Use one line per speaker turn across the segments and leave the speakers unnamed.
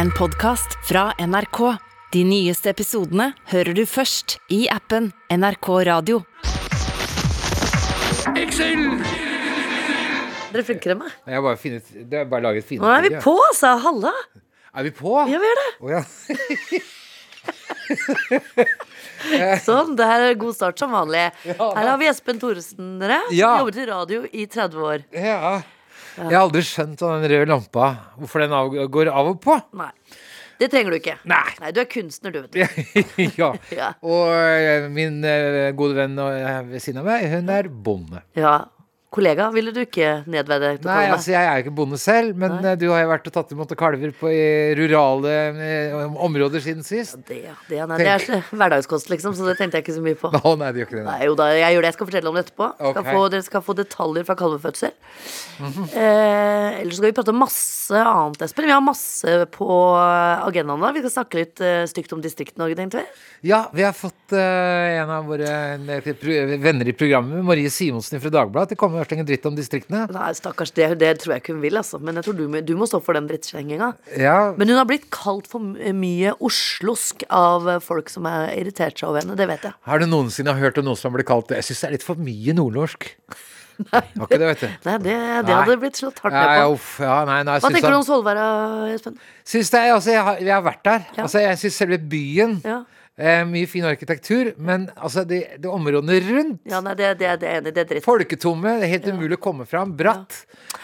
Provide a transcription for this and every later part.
En podcast fra NRK. De nyeste episodene hører du først i appen NRK Radio.
Dere er flinkere enn meg.
Jeg har bare funnet Det er bare laget fine
Nå er vi på, altså. Halla.
Er vi på?
Ja, vi gjør det.
Å, ja.
Sånn. Det her er god start som vanlig. Her har vi Espen Thoresen, dere.
Ja.
Jobbet i radio i 30 år.
ja. Jeg har aldri skjønt av den røde lampa hvorfor den av, går av og på.
Nei. Det trenger du ikke.
Nei.
Nei, Du er kunstner, du, vet du.
ja.
Ja.
Og eh, min eh, gode venn eh, ved siden av meg, hun er bonde.
Ja. Kollega ville du ikke nedverdige til å
Nei,
kalle meg.
altså jeg er jo ikke bonde selv, men
Nei.
eh, du har jo vært og tatt imot kalver på i rurale eh, områder siden sist.
Det, ja, det, ja, nei, det er så- hverdagskost, liksom, så det tenkte jeg ikke så mye på.
Å nei, det gjør ikke det.
Nei, jo da, jeg gjør det. Jeg skal fortelle om det etterpå. Skal
Ok.
få, dere skal få detaljer fra kalvefødsel. eh, ellers skal vi prate om masse annet, Espen. Vi har masse på agendaen. da Vi skal snakke litt eh, stygt om Distrikt-Norge, tenkte vi.
Ja, vi har fått eh, en av våre eh, pro- venner i programmet, Marie Simonsen fra Dagbladet, til å komme og snakke dritt om distriktene.
Nei, stakkars, det, det tror jeg ikke hun vil, altså. Men jeg tror du, må- du må stå for den drittskjenginga.
Ja,
Men hun har blitt kalt for m- mye oslosk av eh, folk som har irritert seg over henne. Det vet jeg.
Har du noensinne hørt om noen som ble kalt det? Jeg syns det er litt for mye nordnorsk. Nei. Har ikke det, vet du.
Nei, det, det
Nei.
hadde blitt slått hardt
Ja, ja,
ned på.
uff, ja, nei, nei,
Hva tenker du om
han,
Svolvær, Espen?
syns det, altså, jeg, har, jeg har vært der.
Ja.
Altså, jeg syns selve byen
Ja.
eh, Mye fin arkitektur, men altså, de, de områdene rundt
Ja, nei, det, det, det er jeg enig i. Det er dritt.
Folketomme, det er helt umulig å komme fram. Bratt.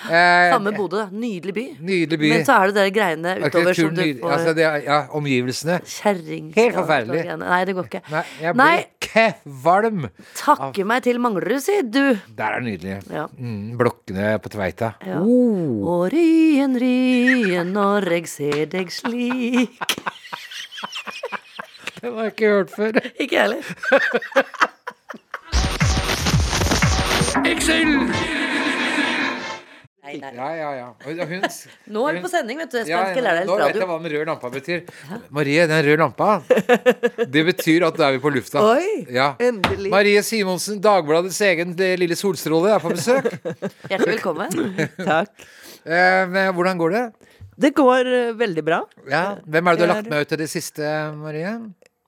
Eh,
Samme Bodø, da. Nydelig by.
Nydelig by.
Men så er det de greiene utover som
Arkitekturen
du
nydelig.
får
Altså, det er, ja, omgivelsene.
Kjerring.
Helt forferdelig.
Ja, Nei, det går ikke.
Nei, jeg
Nei,
blir Ah. kvalm.
takke meg til Manglerud, sier du.
Der er det nydelig.
Ja.
Mm, blokkene på Tveita.
Ja.
Oh.
Og ryen, ryen, når jeg ser deg slik
Den har jeg ikke hørt før.
Ikke jeg heller. Nei, nei.
Ja, ja, ja. Og Hun,
Nå er vi på sending, vet du. Espen
Ja,
skal lære deg
nå
litt
vet jeg
radio.
hva den røde lampa betyr. Marie, den røde lampa, det betyr at da er vi på lufta.
Oi,
ja.
endelig.
Marie Simonsen, Dagbladets egen eh, lille solstråle, er på besøk.
Hjertelig velkommen.
Takk.
Eh, men hvordan går det?
Det går eh, veldig bra.
Ja. Hvem er det du har
Jeg
lagt med ut til det siste, Marie?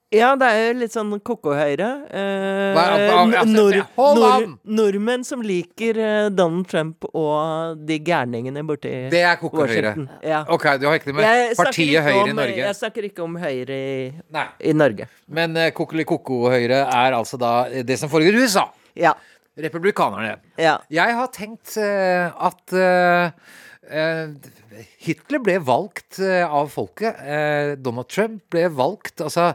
Ja, det er jo litt sånn ko-ko-høyre. Eh,
Hva- hva- altså,
n- nor-
hold
nor-
on!
nordmenn som liker eh, Donald Trump og de gærningene borti
Det er Koko Høyre.
Washington. Ja.
Ok, du har ikke det
Jeg
med
snakker ikke
partiet
eh,
Høyre
om- eh,
i Norge?
Jeg snakker ikke om Høyre i,
Nei.
i Norge.
Men eh, Kokelikoko-Høyre er altså da eh, det som foregår i USA.
Ja.
Republikanerne.
ja.
Jeg har tenkt eh, at eh, eh, Hitler ble valgt eh, av folket. Eh, Donald Trump ble valgt. Altså,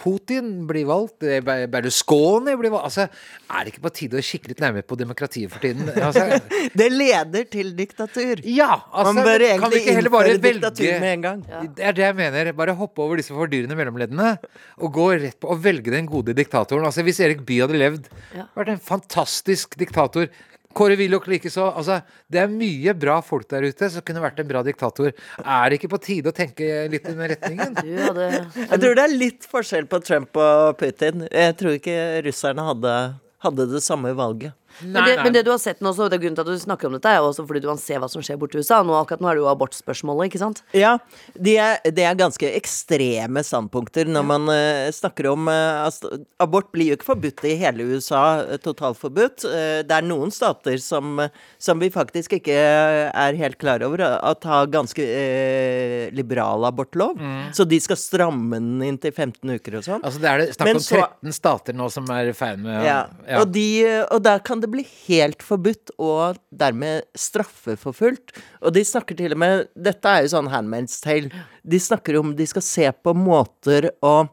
Putin blir valgt. eh, Ber- Berlusconi blir valgt. Altså, er det ikke på tide å kikke litt nærmere på demokratiet for tiden? Altså,
Det leder til diktatur.
ja, altså,
Man bør
kan vi
egentlig
ikke heller bare
innføre diktatur
velge-
med en gang.
Det er det jeg mener. Bare hoppe over disse fordyrende mellomleddene og gå rett på og velge den gode diktatoren. Altså, hvis Erik Bye hadde levd,
Ja.
vært en fantastisk diktator. Kåre Willoch likeså. Altså, det er mye bra folk der ute som kunne vært en bra diktator. Er det ikke på tide å tenke litt i den retningen?
Du hadde
Jeg tror det er litt forskjell på Trump og Putin. Jeg tror ikke russerne hadde, hadde det samme valget.
Men det, men det du har sett nå, så det er grunnen til at du snakker om dette, er jo også fordi du kan se hva som skjer borti USA. Nå, akkurat nå er det jo abortspørsmålet, ikke sant?
Ja, det er, det er ganske ekstreme standpunkter når man eh, snakker om eh, altså, Abort blir jo ikke forbudt i hele USA, eh, totalforbudt. Eh, det er noen stater som, eh, som vi faktisk ikke eh, er helt klar over, eh, at har ganske eh, liberal abortlov. Så de skal stramme den inn til 15 uker og sånn.
Altså, det er det snakk
Men
om
så-
13 stater nå som er i ferd med å
Ja.
ja.
Og, de, og da kan det bli helt forbudt og dermed straffeforfulgt. Og de snakker til og med Dette er jo sånn Handmaid's Tale. De snakker om de skal se på måter å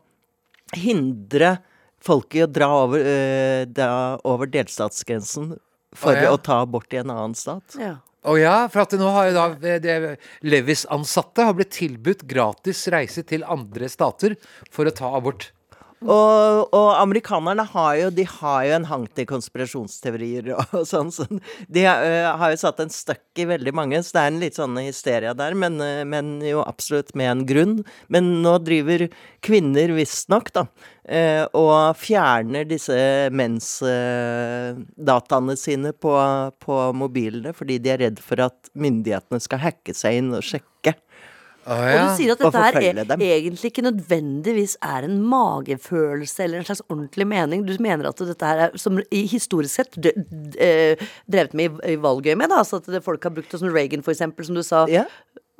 hindre folk i å dra over, eh, dra over delstatsgrensen for
Å, ja.
å ta abort i en annen stat.
Ja.
Å ja, for at nå har jo da eh, det- Levis-ansatte har blitt tilbudt gratis reise til andre stater for å ta abort.
Og, og amerikanerne har jo, de har jo en hang til konspirasjonsteorier og sånn. Så de ø, har jo satt en støkk i veldig mange, så det er en litt sånn hysteria der. Men, ø, men jo absolutt med en grunn. Men nå driver kvinner visstnok, da, ø, og fjerner disse mensdataene sine på, på mobilene fordi de er redd for at myndighetene skal hacke seg inn og sjekke.
Og hun sier at
Og
dette her
forfølge
er,
dem.
egentlig ikke nødvendigvis er en magefølelse eller en slags ordentlig mening. Du mener at dette her er, som i historisk sett d- d- eh, drevet med i, i valgøy med, da. Altså at det, folk har brukt det som Reagan, for eksempel, som du sa.
Ja.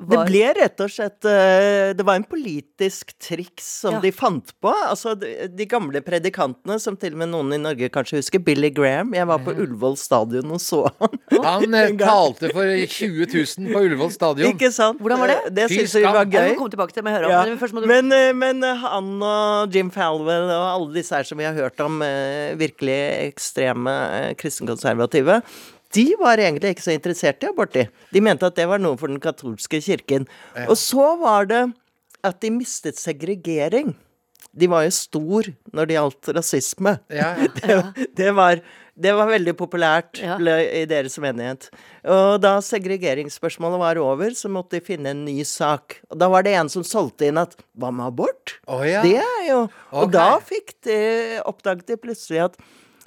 Det
var-
ble rett og slett eh, Det var en politisk triks som
Ja.
de fant på. Altså, de, de gamle predikantene, som til og med noen i Norge kanskje husker, Billy Graham. Jeg var på Ullevål stadion og så han.
Han eh, talte for 20 000 på Ullevål stadion.
Ikke sant?
Hvordan var det?
Det
Fy
syns vi
skam.
var
Ja, vi må
gøy.
komme tilbake til det, men høre om.
Ja.
Men først må du
Men, eh, men han og Jim Falwell og alle disse her som vi har hørt om, eh, virkelig ekstreme eh, kristenkonservative, de var egentlig ikke så interessert i abort. de. De mente at det var noe for den katolske kirken. Og så var det at de mistet segregering. De var jo stor når det gjaldt rasisme.
Ja, ja.
Det, det, var, det var veldig populært
Ja.
ble, i deres menighet. Og da segregeringsspørsmålet var over, så måtte de finne en ny sak. Og da var det en som solgte inn at hva med abort?
Å, ja.
Det er jo Og
Ok.
da fikk de, oppdaget de plutselig at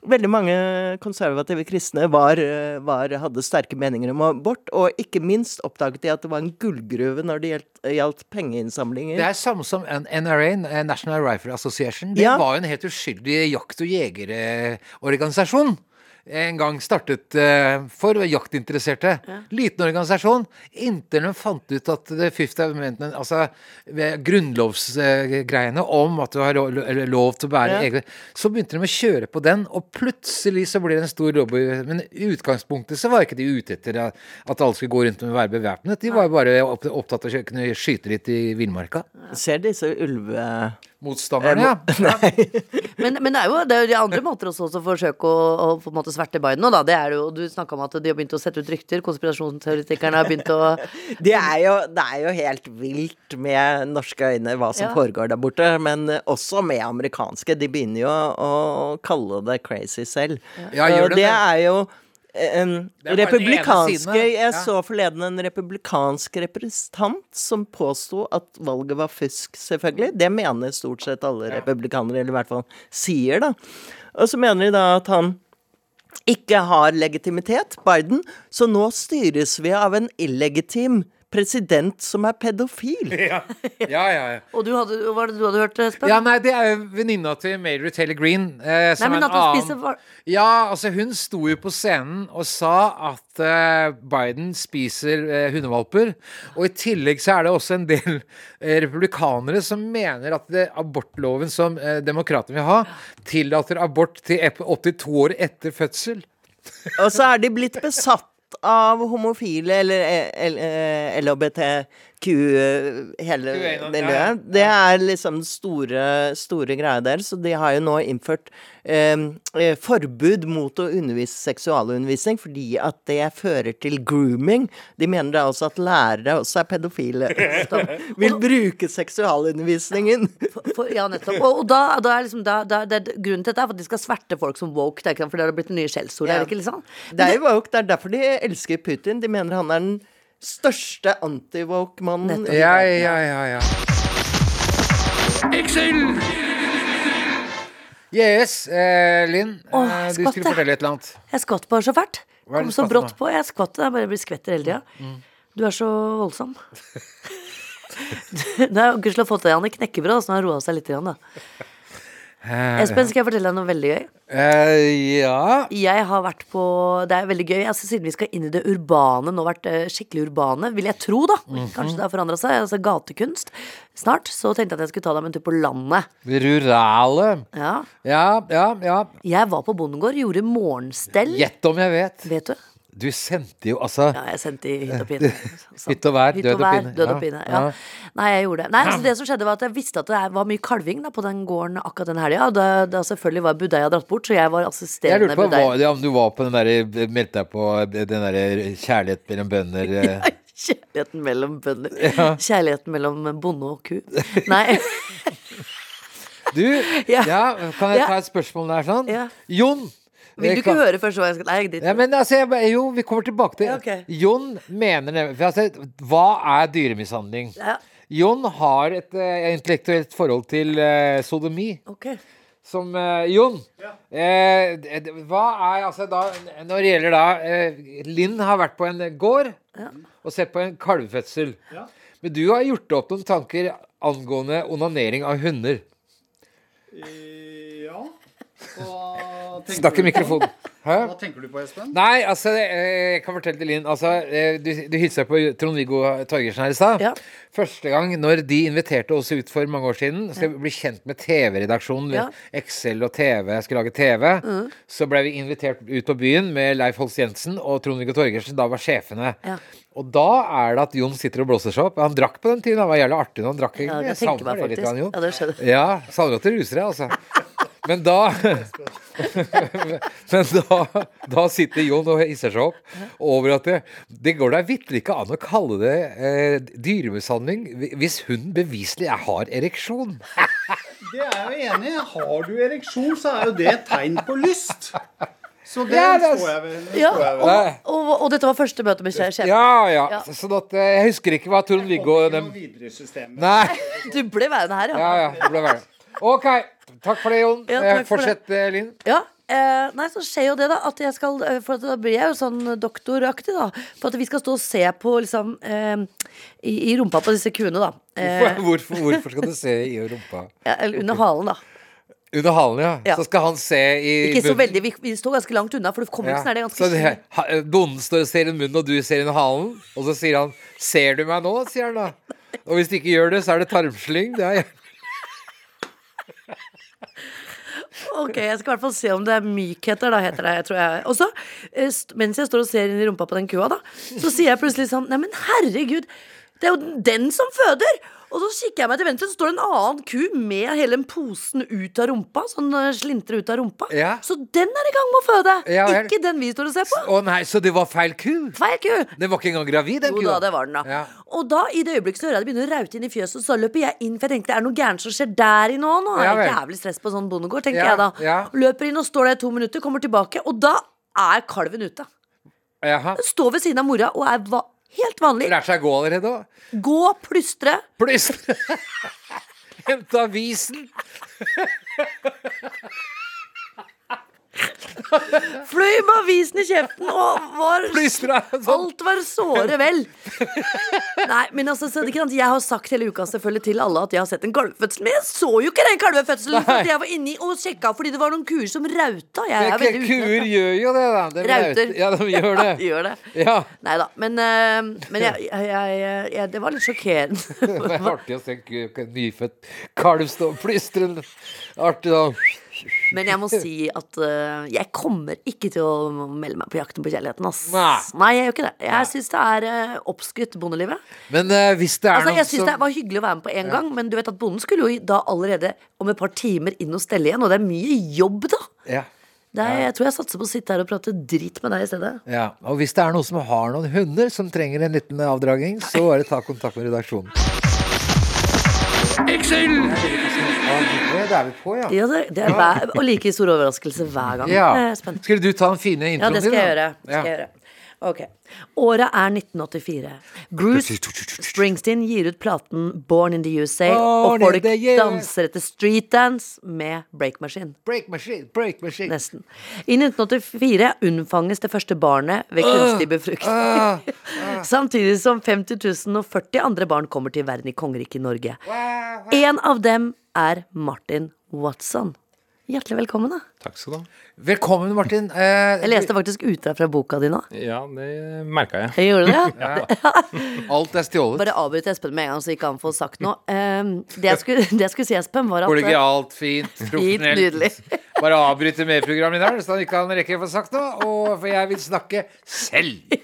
Veldig mange konservative kristne var, eh, var, hadde sterke meninger om abort, og ikke minst oppdaget de at det var en gullgruve når det gjaldt, gjaldt pengeinnsamlinger.
Det er samme som en NRA, eh, National Rifle Association. Det
Ja.
var jo en helt uskyldig jakt- og jegerorganisasjon. En gang startet eh, for jaktinteresserte. Liten organisasjon. Inntil de fant ut at det Fifth Amendment, altså ved grunnlovsgreiene om at du har lo- eller lov til å bære
Ja.
egne Så begynte de å kjøre på den, og plutselig så ble det en stor lobby. Men i utgangspunktet så var ikke de ute etter at at alle skulle gå rundt og være bevæpnet. De var jo bare opp- opptatt av å kunne skyte litt i villmarka.
Ser disse ulve...
Motstanderne, ja.
Men, men det er jo det er jo de andre måter også, å forsøke å, å på en måte sverte Biden nå, da. Det er det jo, du snakka om at de har begynt å sette ut rykter. Konspirasjonsteoretikerne har begynt å
Det er, jo, det er jo helt vilt med norske øyne hva som
Ja.
foregår der borte, men også med amerikanske. De begynner jo å kalle det crazy selv.
Ja, gjør
Og
de det?
det er jo eh, em,
Det er bare den ene siden
republikanske
her.
Jeg
Ja.
så forleden en republikansk representant som påsto at valget var fusk, selvfølgelig. Det mener stort sett alle republikanere, eller i hvert fall sier, da. Og så mener de da at han ikke har legitimitet, Biden, så nå styres vi av en illegitim president som er pedofil.
Ja, ja, ja. ja.
Og du hadde, hva var det du hadde hørt, Espen?
Ja, nei, det er jo venninna til Mary Taylor Green. Eh, som
Nei, men
er
at han
en annen...
spiser var-
Ja, altså, hun sto jo på scenen og sa at eh, Biden spiser eh, hundevalper. Og i tillegg så er det også en del eh, republikanere som mener at det, abortloven som eh, demokratene vil ha, tillater abort til ep- 82 år etter fødsel.
Og så er de blitt besatt av homofile eller eh, el- eh, LHBTQ eh, hele
Q1, ja, ja.
miljøet. Det er liksom den store, store greia der. Så de har jo nå innført eh, eh, forbud mot å undervise seksualundervisning fordi at det fører til grooming. De mener da også at lærere også er pedofile. som Vil bruke seksualundervisningen.
For, ja, nettopp. Og, og da, da er liksom, da, da, det, er- grunnen til dette er for at de skal sverte folk som woke, det er ikke sant? for det har blitt det nye skjellsordet, er det ikke litt sånn?
Det er jo woke, det er derfor de elsker Putin. De mener han er den største anti-woke-mannen. i
Ja, ja, ja, ja. Yes, eh, Linn.
Åh,
eh,
skvatt,
du skulle
jeg.
fortelle et eller annet.
Jeg skvatt bare så fælt.
Hva
Kom
er det du Mm.
så
skvatt
brått
nå?
på. Jeg skvatt, jeg bare blir skvetter hele tida. Du er så voldsom. Du- Nei, Gudskjelov fått deg han i knekkebrød, så han har roa seg litt. Grann, da. Espen, skal jeg fortelle deg noe veldig gøy?
Eh, ja
Jeg har vært på Det er veldig gøy. Altså, siden vi skal inn i det urbane, nå vært eh, skikkelig urbane, vil jeg tro, da.
Mhm.
Kanskje det har forandra seg. Altså gatekunst. Snart. Så tenkte jeg at jeg skulle ta deg med en tur på landet.
Rurale.
Ja.
Ja, ja, ja.
Jeg var på bondegård, gjorde morgenstell.
Gjett om jeg vet.
Vet du?
Du sendte jo altså
Ja, jeg sendte i hytt og pine. Sånn.
Hytt og vær, død og pine.
Død og
Ja,
pine. Ja.
ja.
Nei, jeg gjorde det. Nei, altså, det som skjedde, var at jeg visste at det var mye kalving da, på den gården akkurat den helga. Da, da selvfølgelig var budeia dratt bort, så jeg var
Jeg
assisterende
lurte på
budeia.
hva, ja, om du var på den der eh, Meldte deg på den der eh, kjærlighet mellom bønder eh.
Kjærligheten mellom bønder. Kjærligheten mellom bonde og ku. Nei.
Du,
Ja.
ja, kan jeg
Ja.
ta et spørsmål der sånn?
Ja.
Jon.
Vil du
eh,
ikke
kan-
høre først hva jeg skal Nei, jeg
Ja,
driter i det.
men altså, jeg, bare- jo, vi kommer tilbake til
Ja, ok.
Jon mener nemlig for altså, Hva er dyremishandling?
Ja.
Jon har et eh, intellektuelt forhold til eh, sodomi.
Ok.
Som eh, Jon, eh, d- d- hva er altså da Når det gjelder da eh, Linn har vært på en gård og sett på en kalvefødsel. Men du har gjort deg opp noen tanker angående onanering av hunder.
Eh, Ja. Hva tenker
Snakk
du
i mikrofonen. Hæ?
Hva tenker du på, Espen?
Nei, altså, eh, jeg kan fortelle til Linn altså, eh, Du, du hilsa på Trond-Viggo Torgersen her i stad.
Ja.
Første gang når de inviterte oss ut for mange år siden, skal vi bli kjent med TV-redaksjonen.
Ja.
Excel og TV, jeg skulle lage TV. Så ble vi invitert ut på byen med Leif Holst Jensen og Trond-Viggo Torgersen. Da var sjefene.
Ja.
Og da er det at Jon sitter og blåser seg opp. Han drakk på den tiden, han var jævlig artig når han drakk.
Ja,
egentlig.
det
jeg
tenker
savner
meg
det litt,
faktisk.
han Jon.
Ja, det skjønner jeg.
Ja, savner at du ruser deg, altså. Men da Men da, da sitter Jon og hisser seg opp over at det, det går da vitterlig ikke an å kalle det eh, dyremishandling hvi- hvis hun beviselig er- har ereksjon.
Det er jeg jo enig i. Har du ereksjon, så er jo det et tegn på lyst. Så det
Ja, det er-
står jeg ved. det
Ja,
står jeg ved.
og, og, og dette var første møte med sjef.
Ja, ja.
Ja.
Så, sånn at eh, Jeg husker ikke hva Trond-Viggo og
Ikke
dem
noe videre i systemet.
Nei.
Du ble værende her,
Ja, ja. Det ble verre. OK. Takk for det, Jon.
Ja,
Eh,
takk for det.
Fortsett, eh, Linn.
Ja, eh, nei, så skjer jo det da At jeg skal, eh, for at da blir jeg jo sånn doktoraktig da For at vi skal stå og se på liksom eh, i, I rumpa på disse kuene da eh,
Hvorfor, hvorfor skal du se i rumpa?
ja, Eller under halen da
Under halen, ja.
Ja.
Så skal han se i
Ikke så
bunnen.
veldig, vi, vi står ganske langt unna For det kommer
Ja.
ikke sånn, er det
så
ganske
det, ha, eh, bonden står og ser i munnen, og du ser inn i halen. Og så sier han 'Ser du meg nå?' sier han da. Og hvis du ikke gjør det, så er det tarmslyng. Det er,
Ok, jeg skal i hvert fall se om det er mykheter, da, heter det. Jeg tror jeg. Og så, eh, st- mens jeg står og ser inn i rumpa på den kua, da, så sier jeg plutselig sånn Neimen, herregud, det er jo den som føder! Og så kikker jeg meg til venstre, så står det en annen ku med hele den posen ut av rumpa. Sånn eh, slintrer ut av rumpa.
Ja.
Så den er i gang med å føde!
Ja vel.
ikke den vi står og ser på.
å nei, så det var feil ku?
Feil ku!
Den var ikke engang gravid, den
Jo da, det var den, da.
Ja.
Og da, i det øyeblikket så hører jeg det begynner å raute inn i fjøset, så løper jeg inn, for jeg tenkte er det noe gærent som skjer der inne òg? Nå er
Ja
det
vel.
jævlig stress på sånn bondegård, tenker
Ja,
jeg da.
ja.
Løper inn og står der i to minutter, kommer tilbake, og da er kalven ute.
Jaha.
Står ved siden av mora og er va helt vanlig.
Lærte seg å gå allerede òg.
Gå, plystre.
Plystre! Hente avisen.
Fløy med avisen i kjeften og var
Plystra. Sånn.
Alt var såre vel. Nei, men altså, så, det er ikke sant? Jeg har sagt hele uka selvfølgelig til alle at jeg har sett en kalvefødsel, men jeg så jo ikke den kalvefødselen! For at jeg var inni og sjekka fordi det var noen kuer som rauta. Jeg er veldig
Kuer
utnett.
gjør jo det, da. De
Rauter.
Ja, de gjør
Ja, de
det.
gjør det.
Ja.
Nei da. Men, eh, men jeg, jeg, jeg, jeg Det var litt sjokkerende.
Det er artig å se en ku- en nyfødt kalv stå og plystre. Artig, da.
Men jeg må si at eh, jeg kommer ikke til å melde meg på Jakten på kjærligheten, ass.
Nei.
jeg gjør ikke det. Jeg syns det er eh, oppskrytt, bondelivet.
Men eh, hvis det er
Altså,
noen
jeg synes
som
Det var hyggelig å være med på en gang, men du vet at bonden skulle jo da allerede om et par timer inn og stelle igjen, og det er mye jobb, da.
ja.
Det er, Jeg tror jeg satser på å sitte her og prate drit med deg i stedet.
Ja, og hvis det er noen som har noen hunder som trenger en liten avdragning, så er det ta kontakt med redaksjonen. Excel! Det er vi på, ja.
Ja, det, det er hver, og like stor overraskelse hver gang.
ja.
Det er spennende.
Skulle du ta den fine
Ja,
introen
det
din?
skal jeg gjøre.
da?
Det skal jeg gjøre. Ok. Året er 1984. Bruce Springsteen gir ut platen Born in the USA,
Born
og folk
in the USA.
danser etter streetdance med breakmaskin.
Break machine, break machine.
Nesten. I 1984 unnfanges det første barnet ved kunstig befruktning. Samtidig som 50 040 andre barn kommer til verden i kongeriket Norge. En av dem er Martin Watson. Hjertelig velkommen, da.
Takk skal du ha.
Velkommen, Martin. Eh,
Jeg leste faktisk utdrag fra boka di nå.
Ja, det merka jeg.
Jeg gjorde det, ja.
Alt er stjålet.
Bare avbryte Espen med en gang, så ikke han får sagt noe. Ehm, det, jeg skulle, det jeg skulle si, Espen, var at
Kollegialt, fint,
Fint, nydelig.
profesjonelt. Bare avbryte med programmet der, så han ikke kan rekke å få sagt noe. Og for jeg vil snakke selv.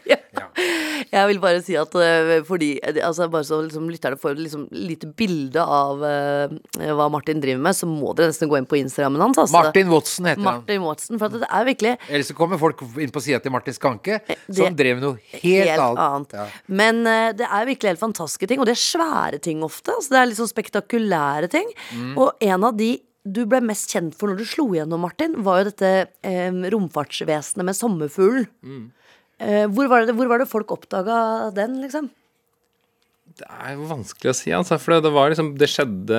Jeg vil bare si at eh, fordi eh, altså Bare så liksom, lytterne får et liksom, lite bilde av eh, hva Martin driver med, så må dere nesten gå inn på Instagrammen hans. Altså.
Martin Watson heter han.
Martin Watson. For at det er virkelig
Eller så kommer folk inn på sida til Martin Skanke,
det-
som drev med noe helt,
helt annet.
annet. Ja.
Men eh, det er virkelig helt fantastiske ting, og det er svære ting ofte. Altså, det er litt sånn spektakulære ting.
Mm.
Og en av de du ble mest kjent for når du slo gjennom, Martin, var jo dette eh, romfartsvesenet med
Mm.
sommerfuglen. Eh, hvor, var det, hvor var det folk oppdaga den, liksom?
Det er jo vanskelig å si, altså. For det var liksom Det skjedde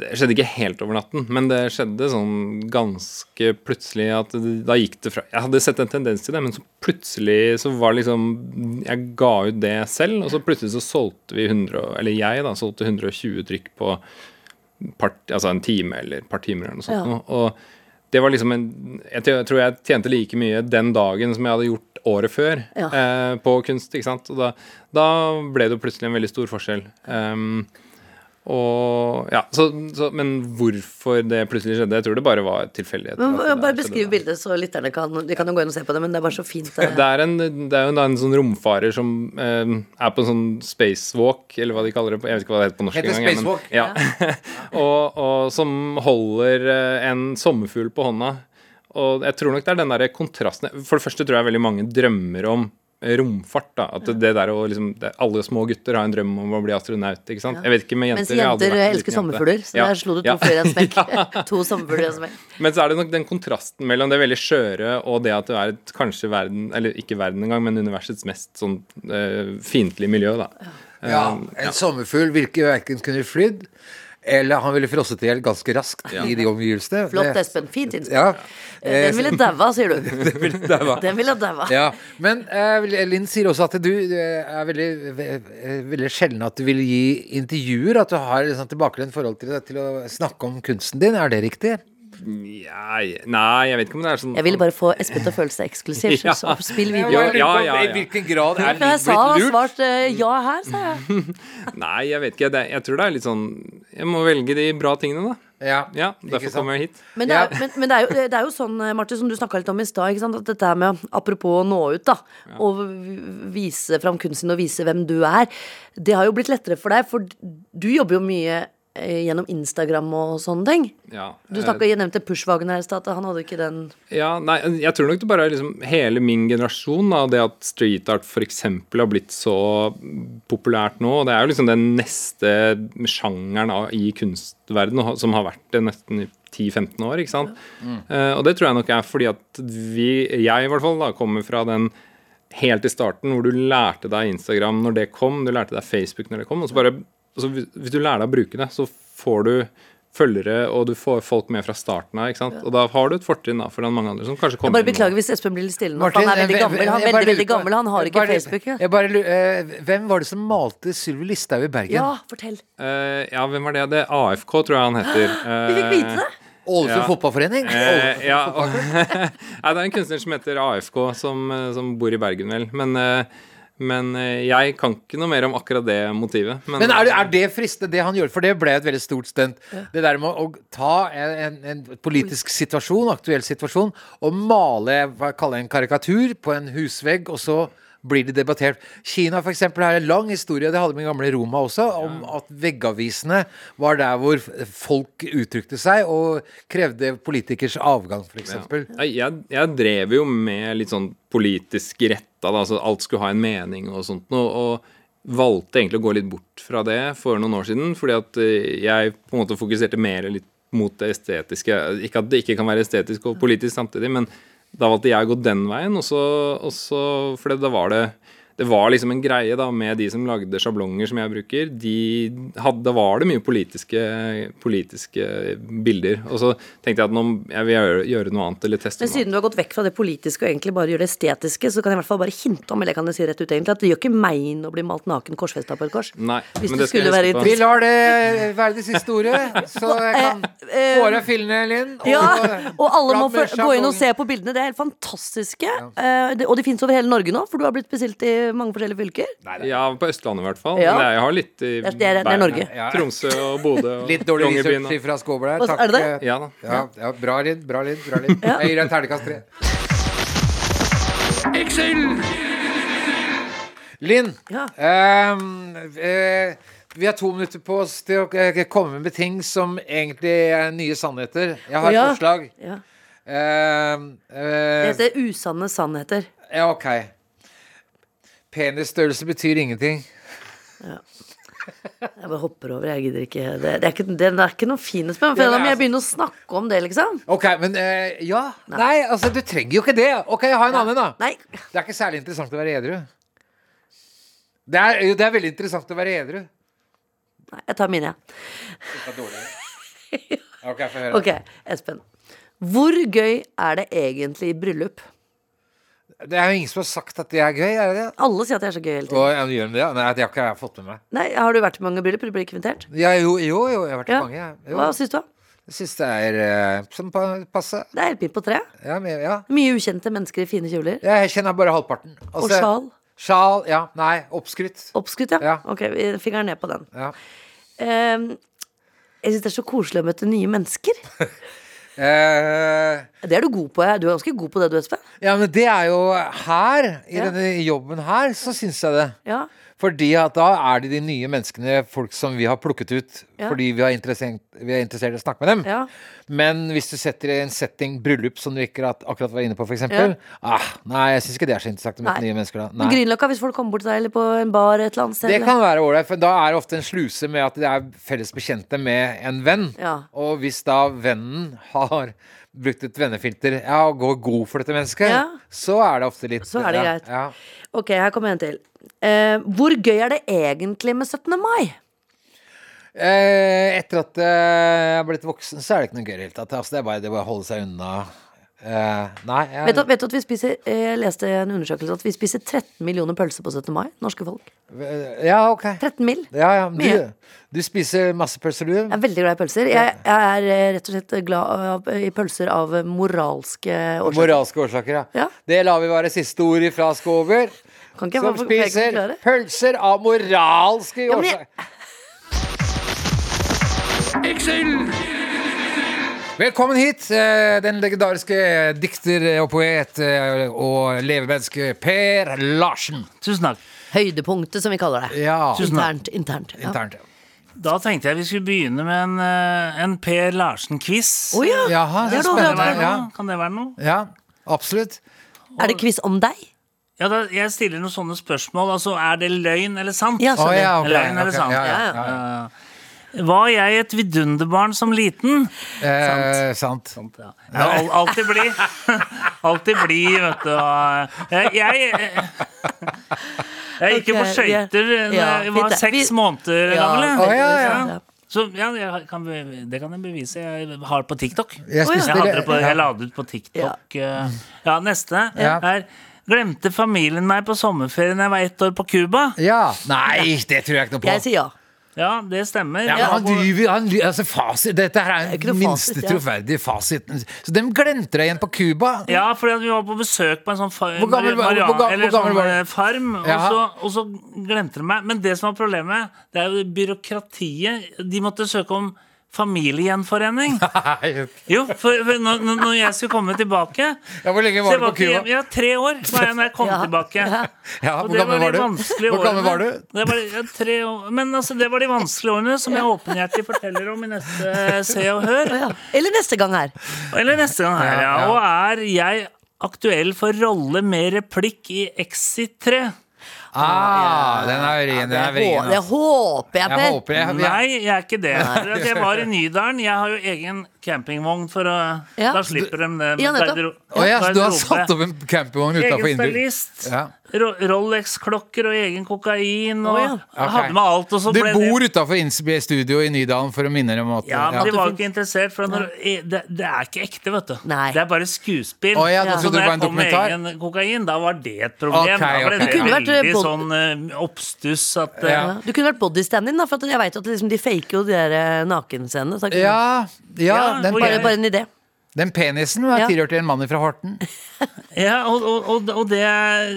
Det skjedde ikke helt over natten, men det skjedde sånn ganske plutselig at det- Da gikk det fra Jeg hadde sett en tendens til det, men så plutselig så var det liksom Jeg ga ut det selv, og så plutselig så solgte vi 100 og- Eller jeg, da, solgte 120 trykk på part, altså en time eller et par timer eller noe sånt. nå. Og det var liksom en Jeg tror- jeg tror jeg tjente like mye den dagen som jeg hadde gjort året før
Ja.
eh, på kunst, ikke sant. Og da, da ble det jo plutselig en veldig stor forskjell. Um, og ja, så, så, Men hvorfor det plutselig skjedde, jeg tror det bare var tilfeldigheter.
Men,
at
bare
det der skjedde
beskriv
da.
bildet, så lytterne kan De kan jo gå inn og se på det, men det er bare så fint. eh.
Det er, en, det er jo da en sånn romfarer som eh, er på en sånn spacewalk, eller hva de kaller det. på- Jeg vet ikke hva det heter på norsk.
Heter
engang, jeg, men-
spacewalk?
Ja. og, og som holder eh, en sommerfugl på hånda. Og jeg tror nok det er den der kontrasten For det første tror jeg veldig mange drømmer om eh, romfart. da, At det der å liksom det, Alle små gutter har en drøm om å bli astronaut, ikke sant. Jeg vet ikke med jenter.
Mens
jeg har aldri
jenter eh,
vært en
elsker
liten jente.
sommerfugler, så
Ja.
der slo du to
Ja.
fluer i en smekk. To sommerfugler i en smekk.
Men så er det nok den kontrasten mellom det veldig skjøre og det at du er et kanskje verden, eller ikke verden engang, men universets mest sånn uh, fiendtlige miljø, da.
Ja,
Um,
En sommerfugl virker verken kunne flydd, eller han ville frosset i hjel ganske raskt i de omgivelsene.
Flott,
Det-
Espen. Fint innspill.
Ja. eh,
Den ville daua, sier du.
det ville det var.
Den ville daua.
Ja, Men eh, Linn sier også at du eh, er veldig, ve- eh, veldig sjelden at du vil gi intervjuer. At du har liksom, tilbakelent forhold til, det, til å snakke om kunsten din. Er det riktig?
Nei, nei, jeg vet ikke om det er sånn
Jeg ville bare få Espen til å føle seg eksklusiv. Så, så spill
Jo,
videre.
lurer ja, på ja, ja.
I
i
hvilken grad er
Men jeg sa svart eh, ja her, sa jeg.
Nei, jeg vet ikke. Det, jeg tror det er litt sånn Jeg må velge de bra tingene, da.
Ja,
Ja, Derfor kommer jeg hit.
Men det er,
Ja.
men, men det er, jo, det er jo sånn, eh, Martin, som du snakka litt om i stad, ikke sant, at dette her med apropos å nå ut, da. Og v- vise fram kunsten og vise hvem du er. Det har jo blitt lettere for deg, for du jobber jo mye eh, gjennom Instagram og sånne ting.
Ja,
Du
eh,
snakka nevnte Pushwagen her i stad. at Han hadde ikke den
Ja, nei, jeg tror nok det bare er liksom hele min generasjon, da, det at street art f.eks. har blitt så populært nå. og Det er jo liksom den neste sjangeren av, i kunstverdenen og ha- som har vært det nesten i 10-15 år. ikke sant? Eh, og det tror jeg nok er fordi at vi, jeg i hvert fall, da, kommer fra den helt i starten hvor du lærte deg Instagram når det kom, du lærte deg Facebook når det kom. og så bare, altså, hvis- Hvis du lærer deg å bruke det, så får du følgere, og du får folk med fra starten av. ikke sant? Og da har du et fortrinn da, foran mange andre som
Jeg
kanskje kommer
bare
inn nå.
beklager hvis Espen blir litt stille nå. for Han er
jeg-
veldig gammel. Han, er
jeg eh, bare
veldig,
lurer
veldig
på-
gammel, han har
jeg
ikke
bare-
Facebook. Ja,
Jeg bare, lurer- eh, hvem var det som malte Sylvi Listhaug i Bergen?
ja fortell.
Eh, ja, hvem var det? Det er AFK, tror jeg han heter.
Vi
Eh,
fikk vite det.
Ålesund
Ja.
Fotballforening? Ålesund
Eh, ja,
Fotball-
Nei, det er en kunstner som heter AFK, som, eh, som bor i Bergen, vel. Men, eh, men eh, jeg kan ikke noe mer om akkurat det motivet.
Men er, det- er det fristende, det han gjorde? For det ble et veldig stort stunt. Det der med å ta en, en, en politisk situasjon, aktuell situasjon, og male hva jeg kaller en karikatur på en husvegg, og så blir det debattert. Kina for eksempel, har en lang historie, det hadde vi i gamle Roma også, om at veggavisene var der hvor f- folk uttrykte seg og krevde politikers avgang, for eksempel.
Nei, Jeg, jeg drev jo med litt sånn politisk retta, da, altså alt skulle ha en mening og sånt noe, og valgte egentlig å gå litt bort fra det for noen år siden, fordi at eh, jeg på en måte fokuserte mer litt mot det estetiske. Ikke at det ikke kan være estetisk og politisk samtidig, men da valgte jeg å gå den veien, og så, og så For da var det det var liksom en greie da med de som lagde sjablonger som jeg bruker. De hadde, da var det mye politiske, politiske bilder. Og så tenkte jeg at nå, jeg vil gjøre, gjøre noe annet eller teste
Men
noe annet.
siden du har gått vekk fra det politiske og egentlig bare gjør det estetiske, så kan jeg i hvert fall bare hinte om, eller jeg kan si rett ut egentlig, at det gjør ikke meg inn å bli malt naken korsfesta på et kors.
Nei,
Hvis
men
det
det skal jeg
skulle
huske
være
på.
Vi lar det være det siste ordet, så jeg kan
Eh, eh,
få av deg fillene, Linn. og-
Ja, og alle må
Fram med
føl- gå inn og
sjabongen.
se på bildene. Det er helt fantastiske. Eh, det- Og de fins over hele Norge nå, for du har blitt bestilt i mange forskjellige fylker.
Ja, på Østlandet i hvert fall.
Ja.
Men jeg har litt i
er- det er- det er
Bergen.
Norge.
Tromsø og Bodø og
Litt dårlig
Longyearbyen og-
research fra Skåber der. eh,
Hva- er det det?
Ja da.
Ja, ja, bra, Linn. Bra, Linn. Bra, Linn. Jeg gir deg en terningkast tre. Linn,
Ja.
ehm, eh, vi har to minutter på oss til å eh, komme med ting som egentlig er nye sannheter. Jeg har et
Ja.
forslag.
Ja.
Ehm, eh,
Det heter usanne sannheter.
ja, ok. Penisstørrelse betyr ingenting.
Jeg bare hopper over, jeg gidder ikke. Det, det, er, ikke det er ikke noe finest med for
Ja, det er altså-
om jeg
sant.
begynner å snakke om det, liksom.
Ok, men eh, ja. Nei. altså, du trenger jo ikke det. Ok, jeg har en annen, da.
Nei.
Det er ikke særlig interessant å være edru. Det er, jo, det er veldig interessant å være edru.
Nei, jeg tar mine, jeg.
Det er dårlig. Ok, få høre.
Ok, Espen. Hvor gøy er det egentlig i bryllup?
Det er jo ingen som har sagt at det er gøy, er det det?
Alle sier at det er så gøy hele tiden.
Og ja, gjør de det? Nei, det har ikke jeg fått med meg.
Nei, Har du vært i mange bryllup? Du blir invitert?
Ja, jo, jo, jo, jeg har vært i
Ja.
mange. jeg.
Hva
Jo,
syns du? da?
jeg syns det er eh, som pa- passe.
Det er helt midt på treet.
Ja, men, ja.
Mye ukjente mennesker i fine kjoler.
Ja, Jeg kjenner bare halvparten.
Og
Altså,
sjal.
Sjal, ja. Nei, oppskrytt.
Oppskrytt, ja.
Ja.
Ok, vi fingeren ned på den.
Ja.
Ehm, jeg syns det er så koselig å møte nye mennesker.
Eh,
Det er du god på. Jeg. Du er ganske god på det, du, Espen.
ja, men det er jo her, i
Ja.
denne jobben her, så syns jeg det.
Ja.
Fordi at da er det de nye menneskene folk som vi har plukket ut
Ja.
fordi vi er, interessert, vi er interessert i å snakke med dem.
Ja.
Men hvis du setter i en setting bryllup som du ikke at- akkurat var inne på, f.eks.
Ja.
Ah, nei, jeg syns ikke det er så interessant å møte
Nei.
nye mennesker da.
På
Nei.
Grünerløkka, hvis folk kommer bort til deg, eller på en bar et eller annet sted.
Det
eller-
kan være ålreit, for da er det ofte en sluse med at det er felles bekjente med en venn.
Ja.
Og hvis da vennen har brukt et vennefilter ja, og går god for dette mennesket,
Ja.
så er det ofte litt
Så er det
ja,
greit.
Ja.
Ok, her kommer en til. Eh, hvor gøy er det egentlig med 17. mai?
Eh, etter at eh, jeg er blitt voksen, så er det ikke noe gøy i det hele tatt. Altså, det er bare det er bare å holde seg unna. Eh, nei, jeg,
Vet du, vet du at vi spiser eh, Jeg leste i en undersøkelse at vi spiser 13 millioner pølser på 17. mai. Norske folk.
Ja, ok.
13 mill.
Ja, ja. men
Mye.
Du, du spiser masse pølser, du.
Jeg er veldig glad i pølser. Jeg, jeg er eh, rett og slett glad av- i pølser av moralske årsaker.
Moralske årsaker, ja.
Ja.
Det lar vi være siste ord ifra Skåber.
Kan ikke jeg
Som
få- kan jeg ikke
spiser
forklare?
pølser av moralske
men
årsaker. Velkommen hit, eh, den legendariske dikter og poet eh, og levemenneske Per Larsen.
Tusen takk.
Høydepunktet, som vi kaller det.
Ja,
Tusen takk.
Internt. internt ja.
internt.
Da tenkte jeg vi skulle begynne med en, eh, en Per Larsen-quiz.
Å ja.
Jaha,
Det
så
er noe
Kan det være
spennende. Ja,
noe? Kan det være noe?
ja, absolutt.
Er det quiz om deg?
Ja, da, jeg stiller noen sånne spørsmål. Altså, er det løgn eller sant?
Ja,
Å
skjønner.
ja, ok.
Løgn eller
ok,
sant?
ja, ja, ja.
Var jeg et vidunderbarn som liten?
Eh, sant.
Ja. Ja, al- alltid bli. Alltid bli, vet du. og, eh, Jeg eh, Jeg gikk
Ok,
jo på
vi er-
skøyter da
ja,
jeg
fint
var
det.
seks
Vi-
måneder
Ja,
gammel.
Å, ja, ja.
ja.
Så ja, jeg kan, be- det kan jeg bevise. Jeg har på TikTok.
Jeg spiste
jeg, hadde
det-
det på,
ja.
jeg la det ut på TikTok. Ja, ja neste
Ja.
er Glemte familien meg på sommerferien jeg var ett år på Cuba?
Ja. Nei, det tror jeg ikke noe på.
Jeg sier ja.
Ja, det stemmer.
Ja, men han driver han, ly- altså fasit, Dette her er
ikke noe
den minste
fasit, ja.
troverdige fasiten. Så dem glemte deg igjen på Cuba.
Ja, fordi at vi var på besøk på en sånn far,
Hvor gammel var-
Marian-
hvor ga-
eller
hvor gammel
sånn,
var du?
eh, farm, og
Jaha.
så, og så glemte de meg. Men det som var problemet, det er jo byråkratiet. De måtte søke om familiegjenforening.
Nei.
Jo, for, for når, når- når jeg skulle komme tilbake
Ja, hvor lenge
så jeg
var du på
ikke
Cuba?
hjemme- Ja, tre år var jeg når jeg kom tilbake.
Ja,
Og
hvor
det
gammel var
de
du?
vanskelige
Hvor gammel
årene.
var du?
Det var, ja, tre år. Men altså, det var de vanskelige årene som jeg åpenhjertig forteller om i neste Se og Hør.
ja. Eller neste gang her.
Eller neste gang her, ja.
Ja, ja.
Og er jeg aktuell for rolle med replikk i Exit 3?
Ah, den er ren. Den
Det
er
hå-
vrien.
det
altså.
håper jeg,
Jeg
Per.
håper jeg, jeg,
Nei, jeg er ikke det. For at jeg var i Nydalen. Jeg har jo egen campingvogn, for å,
Ja.
da slipper de det. med
Ja, nettopp.
garderob-
Å ja, så du har
garderobe.
satt opp en campingvogn utafor
Egen
Innbyr?
stylist,
Ja.
Ro- Rolex-klokker og egen kokain. Og
Å, ja.
jeg Hadde med alt, og så
Du
ble det
bor utafor studio i Nydalen for å minne dem om at
ja, men de
ja.
var jo ikke interessert, for når, i- det, det er ikke ekte, vet du.
Nei.
Det er bare skuespill.
Å, ja, da trodde
Så
du det
når
var
jeg
en
kom med
dokumentar.
egen kokain, da var det et problem.
Ok,
da ble
ok.
det
Du
kunne vært, eh,
veldig
både-
sånn eh, oppstuss at eh,
Ja.
Du kunne vært bodystand-in, da, for at jeg vet jo at liksom, de faker jo de der eh, nakenscenene. så da kunne-
Ja, ja,
Ja,
den,
hvor
Bare,
jeg-
bare en idé.
den penisen var
Ja.
tilhørt en mann fra Horten.
Ja, og, og, og, og det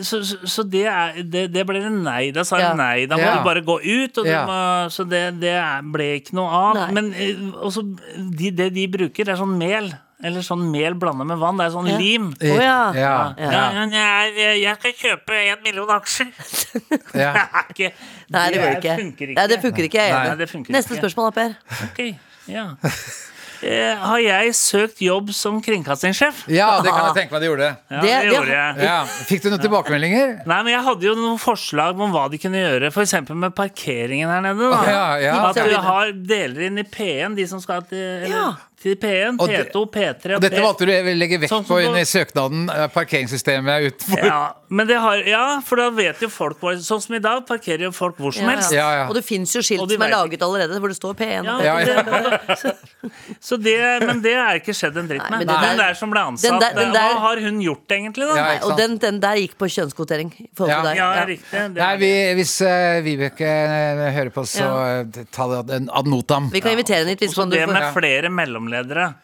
Så, så så det, er, det, det ble en nei. Da sa jeg
Ja.
nei. Da må
Ja.
du bare gå ut. Og du
Ja.
må, så det, det er- ble ikke noe av.
Nei.
Men eh, også, de, det de bruker, det er sånn mel. Eller sånn mel blanda med vann. Det er sånn
Ja.
lim.
Å ja.
Ja,
Ja. men jeg, er- jeg skal kjøpe en million aksjer.
ja.
Det er ikke
Nei, det går ikke.
funker ikke.
Nei, det funker ikke. Jeg er
Nei,
enig.
det funker
Neste
ikke.
spørsmål, da, Per.
Ok, ja. Eh, har jeg søkt jobb som kringkastingssjef?
ja, det kan jeg tenke meg du gjorde.
Ja, det,
Det- det-
gjorde jeg.
Ja. Fikk du noen tilbakemeldinger?
Nei, men jeg hadde jo noen forslag om hva de kunne gjøre. F.eks. med parkeringen her nede. Da.
Ja, ja.
At du har deler inn i P1, de som skal til, eller,
Ja.
til P1,
Og det-
P2, P3
Og dette
P-
valgte du å legge vekt
Sånn som
på
på-
i søknaden. eh, Parkeringssystemet utenfor
ja, Men det har, ja, for da vet jo folk hvor- Sånn som i dag parkerer jo folk hvor som
Ja,
helst.
Ja, ja.
Og det fins jo skilt
Og de
som er
vet
laget allerede, hvor det står P1.
Ja,
Ja, ja.
Det, så det, men det er ikke skjedd en dritt
Nei, men
med.
det
hun
der-
der som ble
den
ansatt,
der- den der-
hva har hun gjort egentlig,
Ja,
da?
Nei,
ikke
og
sant.
den, den der gikk på kjønnskvotering. i forhold
Ja.
til deg.
Ja,
Ja.
riktig. Det
Nei,
er-
vi, hvis eh, Vibeke eh, hører på, så
Ja.
eh, ta det ad- en ad notam.
Vi kan invitere henne hit. Hvis
Så
man, du
det
får,
med flere mellomledere.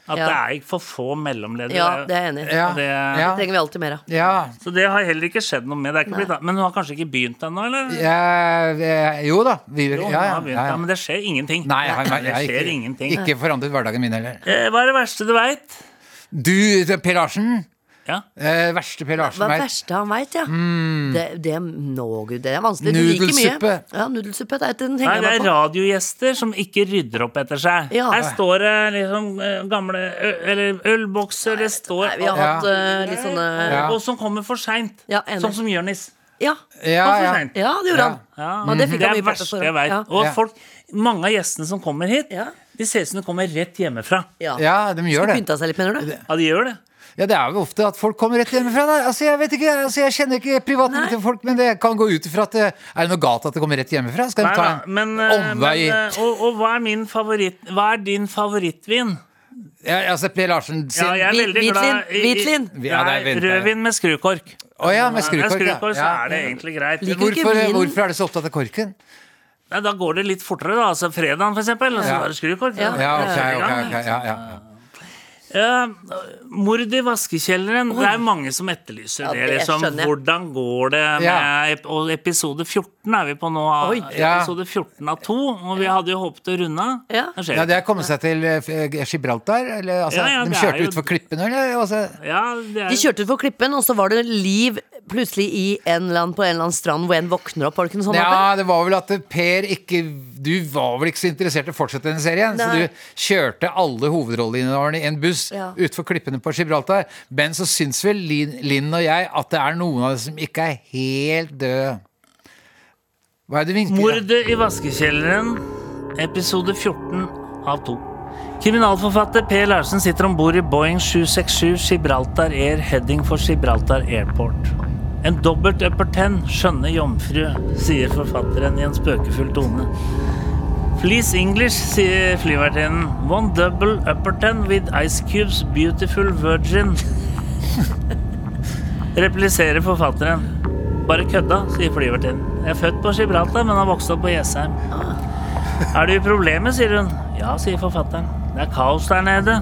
At
Ja.
det er ikke for få mellomledere.
ja, det er jeg enig i.
Ja,
Det-
Det
ja,
trenger vi alltid mer av.
ja.
Så det har heller ikke skjedd noe med. Det er ikke blitt, da. men hun har kanskje ikke begynt ennå, eller?
Eh, eh, Jo da,
Jo,
Vibeke.
hun
Ja, ja,
har
ja,
begynt, da,
ja.
Men det skjer ingenting.
Nei, jeg, har-
det
jeg,
skjer
har ikke,
ingenting.
ikke forandret hverdagen min heller.
Eh, Hva er det verste du veit?
Du, Per Larsen.
Ja.
Eh, verste Per Larsen
Hva er det
veit.
verste han veit, ja? Det, det, nå, Gud, det er vanskelig. Du liker mye.
Mm. Nudelsuppe.
Ja, nudelsuppe. Det er, den
Nei,
henger
det
jeg
er
meg på.
radiogjester som ikke rydder opp etter seg.
Ja.
Her står det liksom eh, gamle ø eller ølbokser, det står
Nei, vi har
Ja.
hatt eh, litt sånne
Ja.
Og som kommer for seint.
Ja, enig.
sånn som Jonis.
Ja,
Ja,
Han for
ja.
sent.
ja det gjorde han.
Ja.
Og det fikk
det
han
er
mye pepper
verste
for.
jeg veit.
Ja.
Og
Ja.
folk, mange av gjestene som kommer hit,
Ja.
de ser ut som de kommer rett hjemmefra.
Ja.
ja, de gjør
Skulle
det.
pynta seg litt, mener du?
Ja, de gjør det.
Ja, Det er jo ofte at folk kommer rett hjemmefra. Da. Altså, Jeg vet ikke, altså, jeg kjenner ikke privatlivet til folk, men det kan gå ut ifra at det er det noe galt at det kommer rett hjemmefra. Skal de
Nei
ta
da,
en
men, eh, men
omvei
eh, og, og hva er min favoritt Hva er din favorittvin?
ja, altså, Per Larsen sin
Ja, jeg er
Hvit-
veldig glad i- i-
hvitvin,
hvitvin. Ja, det er
Nei,
veldig-
Rødvin med skrukork.
Å ja, med
Skrukork,
skrukork.
skrukork så
ja.
er det egentlig greit.
Liker du ikke
Hvorfor,
vinen?
hvorfor er du så opptatt av korken?
Nei, da går det litt fortere, da. Altså fredagen, for eksempel. Og så
Ja.
var det skrukork.
Ja.
Ja, ok,
Sette i
ok,
gang.
ok, ja, ja.
Eh, mord i vaskekjelleren. Det er mange som etterlyser
Ja,
det.
det
liksom,
skjønner jeg.
Hvordan går det med
Ja.
ep- Og episode 14 er vi på nå. av-
Oi.
Ja.
Episode 14 av to. Og vi hadde jo håpet å runde av.
Ja.
Det skjer
ja,
ikke.
det er kommet seg til eh, Gibraltar? Eller, altså,
Ja, ja,
de
det er
kjørte
jo-
utfor klippene, eller? Altså,
ja, det er...
De kjørte utfor klippen, og så var det liv plutselig i en eller annen, på en eller annen strand hvor en våkner opp. Var det ikke noe sånn sånt? Ape?
ja, det var vel at Per ikke Du var vel ikke så interessert i å fortsette denne serien,
Nei.
så du kjørte alle hovedrolleinnehaverne i en buss
Ja.
utfor klippene på Gibraltar. Men så syns vel Linn Linn og jeg at det er noen av dem som ikke er helt døde. Hva er det du vinker? da?
Mordet i vaskekjelleren, episode 14 av 2. Kriminalforfatter Per Larsen sitter om bord i Boeing 767 Gibraltar Air heading for Gibraltar Airport. En dobbelt upper ten, skjønne jomfru, sier forfatteren i en spøkefull tone. Please English, sier flyvertinnen. One double upper ten with ice cubes, beautiful virgin. Repliserer forfatteren. Bare kødda, sier flyvertinnen. Jeg er født på Gibraltar, men har vokst opp på Jessheim. Er du i problemet, sier hun. Ja, sier forfatteren. Det er kaos der nede.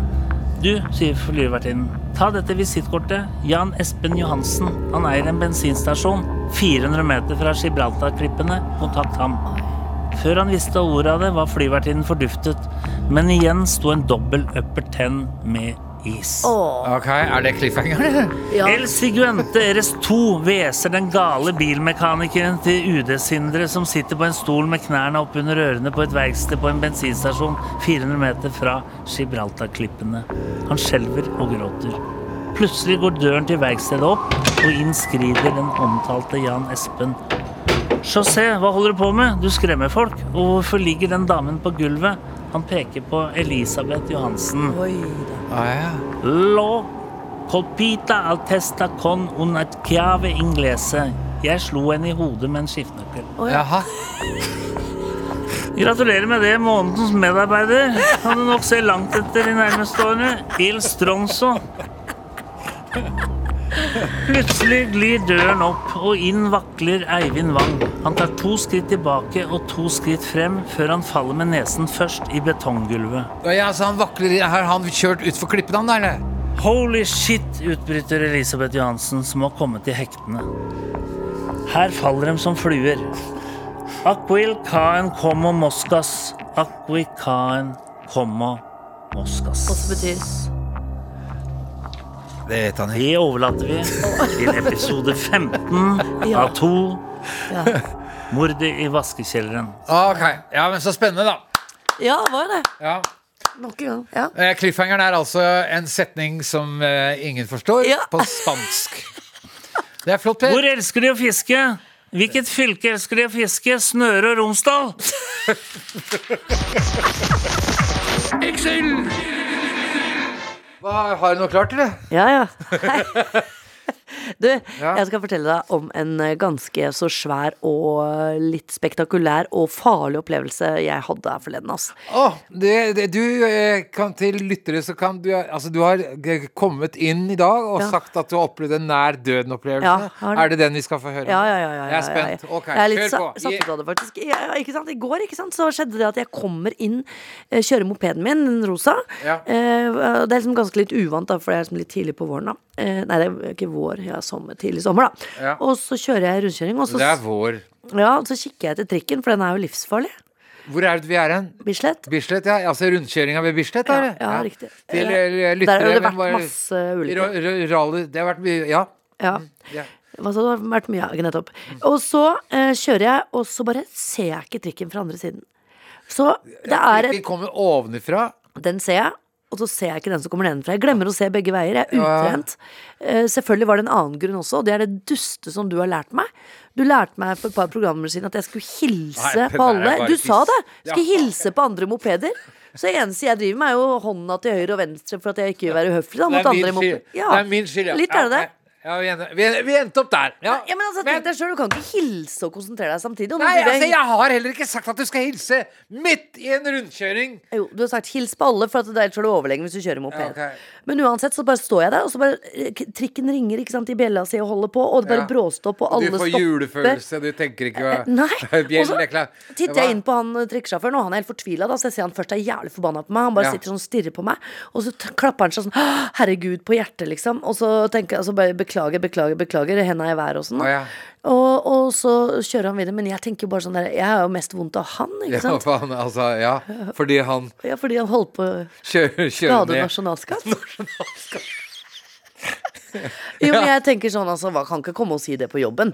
Du, sier flyvertinnen. Ta dette visittkortet. Jan Espen Johansen. Han eier en bensinstasjon 400 meter fra Gibraltarklippene. Kontakt ham. Før han visste ordet av det, var flyvertinnen forduftet. Men igjen sto en dobbel upper ten med is.
Ok, Er det cliffhanger, eller?
Ja.
El Siguente RS2 hveser den gale bilmekanikeren til UD-Sindre som sitter på en stol med knærne oppunder ørene på et verksted på en bensinstasjon 400 meter fra Gibraltarklippene. Han skjelver og gråter. Plutselig går døren til verkstedet opp, og inn skrider den omtalte Jan Espen. José, hva holder du på med? Du skremmer folk. Og hvorfor ligger den damen på gulvet? Han peker på Elisabeth Johansen.
Oi, da.
Ah, ja.
Lo colpita al testa con una chiave inglese. Jeg slo henne i hodet med en skiftenøkkel.
Jaha.
Gratulerer med det, månedens medarbeider. Kan du nok se langt etter de nærmeste årene. Il Stronzo. Plutselig glir døren opp, og inn vakler Eivind Wang. Han tar to skritt tilbake og to skritt frem, før han faller med nesen først i betonggulvet.
Å, ja, så han vakler i- Har han kjørt utfor klippene, han, da, eller?
Holy shit, utbryter Elisabeth Johansen, som har kommet i hektene. Her faller de som fluer. Aquil caen como moscas. Aqui caen como
Også
moscas.
betyr
Det vet han ikke.
Det overlater vi til episode 15
Ja.
av 2.
Ja.
Mordet i vaskekjelleren.
Ok, ja, men Så spennende, da.
Ja, var det.
Ja.
Nok en gang. Ja.
Eh, Cliffhangeren er altså en setning som eh, ingen forstår,
Ja.
på spansk. Det er flott, Per.
Hvor elsker de å fiske? Hvilket fylke elsker de å fiske? Snøre og Romsdal?
Hva, har du noe klart, eller?
Ja, ja. Du, jeg skal fortelle deg om en eh, ganske så svær og eh, litt spektakulær og farlig opplevelse jeg hadde her forleden. ass.
Åh, det, det, du eh, kan til lyttere så kan du Altså, du har g- kommet inn i dag og
Ja.
sagt at du har opplevd en nær døden-opplevelse.
Ja, har det.
er det den vi skal få høre?
Ja, ja, ja, ja,
Jeg er
ja, ja, ja.
spent. Ok,
Jeg er litt
kjør
sa-
på.
satt
Yeah.
ut av det, faktisk. Ja, ja, ikke sant? I går ikke sant? så skjedde det at jeg kommer inn, eh, kjører mopeden min, den rosa.
Ja.
Eh, Det er liksom ganske litt uvant, da, for det er liksom litt tidlig på våren. da Eh, Nei, det er ikke vår, ja, sommer, tidlig sommer, da.
Ja.
Og så kjører jeg rundkjøring, og så,
Det er vår.
ja, så kikker jeg etter trikken, for den er jo livsfarlig.
Hvor er det vi er hen?
Bislett.
Bislett, ja. Altså rundkjøringa ved Bislett,
Ja,
er det?
ja, riktig.
Til
Ja.
eh, lyttere,
Der har det
men
vært
bare-
masse ulykker.
Ra- ra- Rally, det har vært mye Ja.
Ja.
ja.
Hva sa du? Det har vært mye ja, nettopp. Og så eh, kjører jeg, og så bare ser jeg ikke trikken fra andre siden. Så det er
Vi
et
kommer ovenifra.
Den ser jeg, og så ser jeg ikke den som kommer nedenfra. Jeg glemmer å se begge veier. Jeg er utrent. Eh, Selvfølgelig var det en annen grunn også, og det er det duste som du har lært meg. Du lærte meg for et par programmer siden at jeg skulle hilse
Nei,
på
det der er
alle.
bare
Du sa
piss.
det! Skulle
Ja.
hilse på andre mopeder. Så det eneste jeg driver med, er jo hånda til høyre og venstre for at jeg ikke vil være uhøflig da,
Det
mot
er min
andre
skyld.
mopeder. Ja,
Det er min skyld, ja.
Litt er det det.
Ja, vi, ender- vi, vi endte opp der. Ja,
Ja, men altså, tenk deg selv, Du kan ikke hilse og konsentrere deg samtidig. Og nå
Nei,
driver
altså,
jeg-
jeg har heller ikke sagt at du skal hilse midt i en rundkjøring.
Jo, du har sagt 'hils på alle', for at ellers er du overlegen hvis du kjører moped.
Ja, ok.
Men uansett så bare står jeg der, og så bare eh, k- trikken ringer ikke sant, i bjella si og holder på, og det bare
Ja.
bråstopp, og
Og
alle
du får
stopper. Eh,
julefølelse, du tenker ikke hva
Nei. Og
Bjellen
så
er klar.
titter
Hva?
jeg inn på han eh, trikkesjåføren, og han er helt fortvila. da, Så jeg ser han først er jævlig forbanna på meg. Han bare
Ja.
sitter sånn og stirrer på meg. Og så t- klapper han seg sånn «Åh, herregud på hjertet, liksom. Og så tenker jeg, altså bare beklager, beklager, beklager. Henda i været og sånn. da.
Å, ja.
og, og så kjører han videre. Men jeg tenker jo bare sånn der, jeg har jo mest vondt av han, ikke
Ja,
sant.
for han, altså, ja, fordi han
Ja, fordi han holdt på å
kjører, kjører
skade
ned
nasjonalskatt. Jo, men jeg tenker sånn, altså, hva kan ikke komme og si det på jobben?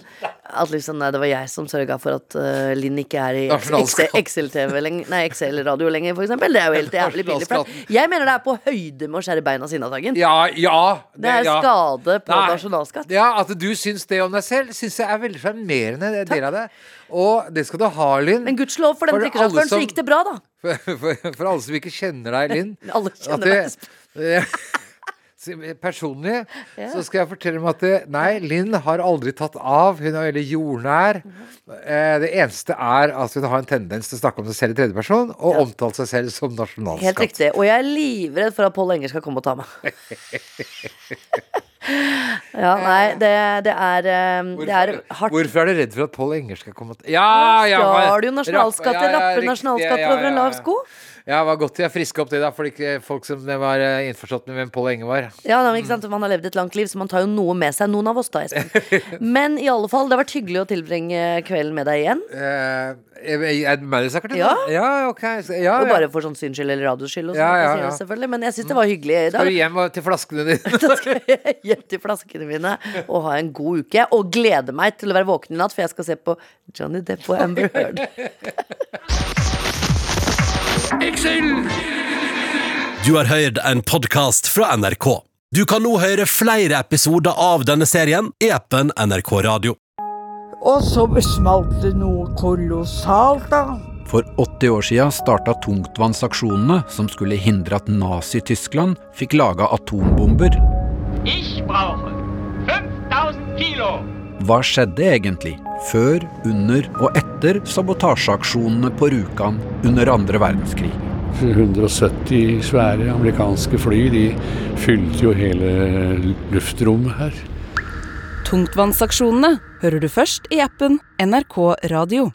At liksom, nei, det var jeg som sørga for at eh, Linn ikke er i
Nasjonalskatt.
Excel- Excel-TV lenger, nei, Excel-radio lenger, for eksempel. Det er jo helt jævlig pinlig. for
Nasjonalskatten.
Jeg mener det er på høyde med å skjære beina sine av dagen.
Ja, ja.
Det er
ja.
skade på
Nei.
nasjonalskatt.
Ja, At du syns det om deg selv, syns jeg er veldig sjarmerende. det- Del av det. Og det skal du ha, Linn.
Men gudskjelov for den
For det er alle
trikkesjåføren, så
som-
gikk det bra, da.
For, for, for alle som ikke kjenner deg, Linn.
Alle kjenner
at det- eh, Personlig så skal jeg fortelle dem at det, nei, Linn har aldri tatt av. Hun er veldig jordnær. Eh, Det eneste er at hun har en tendens til å snakke om seg selv i tredjeperson og omtale seg selv som
Helt
nasjonalskatt.
riktig. Og jeg er livredd for at Pål Enger skal komme og ta meg. ja, nei, det, det er eh, Det er hardt.
Hvorfor er du redd for at Pål Enger skal komme til Ja, ja! men-
Stjal jo nasjonalskatter,
rapp- ja, ja,
rapper
riktig,
nasjonalskatter over en lav sko.
Ja, det var godt jeg friska opp det, da, for ikke folk som var eh, innforstått med hvem Pål Enger var.
Ja, da, men ikke sant? Man har levd et langt liv, så man tar jo noe med seg. Noen av oss, da, Espen. Men i alle fall, det har vært hyggelig å tilbringe kvelden med deg igjen.
Eh, er det meg du snakker til?
Ja.
nå? ja ok. så- Ja,
Og
ja.
bare for sånn syns skyld eller radios skyld. Og sånn,
Ja, ja,
jeg sier det
ja.
selvfølgelig. Men jeg syns det var hyggelig. i
Skal
dag.
du hjem og- til flaskene dine?
Da skal jeg hjem til flaskene mine og ha en god uke. Og gleder meg til å være våken i natt, for jeg skal se på Johnny Depp og Amber Heard.
Du har hørt en podcast fra NRK. Du kan nå høre flere episoder av denne serien i appen NRK Radio.
Og så smalt det noe kolossalt, da.
For 80 år siden starta tungtvannsaksjonene som skulle hindre at Nazi-Tyskland fikk laga atombomber.
Ich brauche 5000 Kilo.
Hva skjedde egentlig? Før, under og etter sabotasjeaksjonene på Rjukan under andre verdenskrig.
170 svære amerikanske fly de fylte jo hele luftrommet her.
Tungtvannsaksjonene hører du først i appen NRK Radio.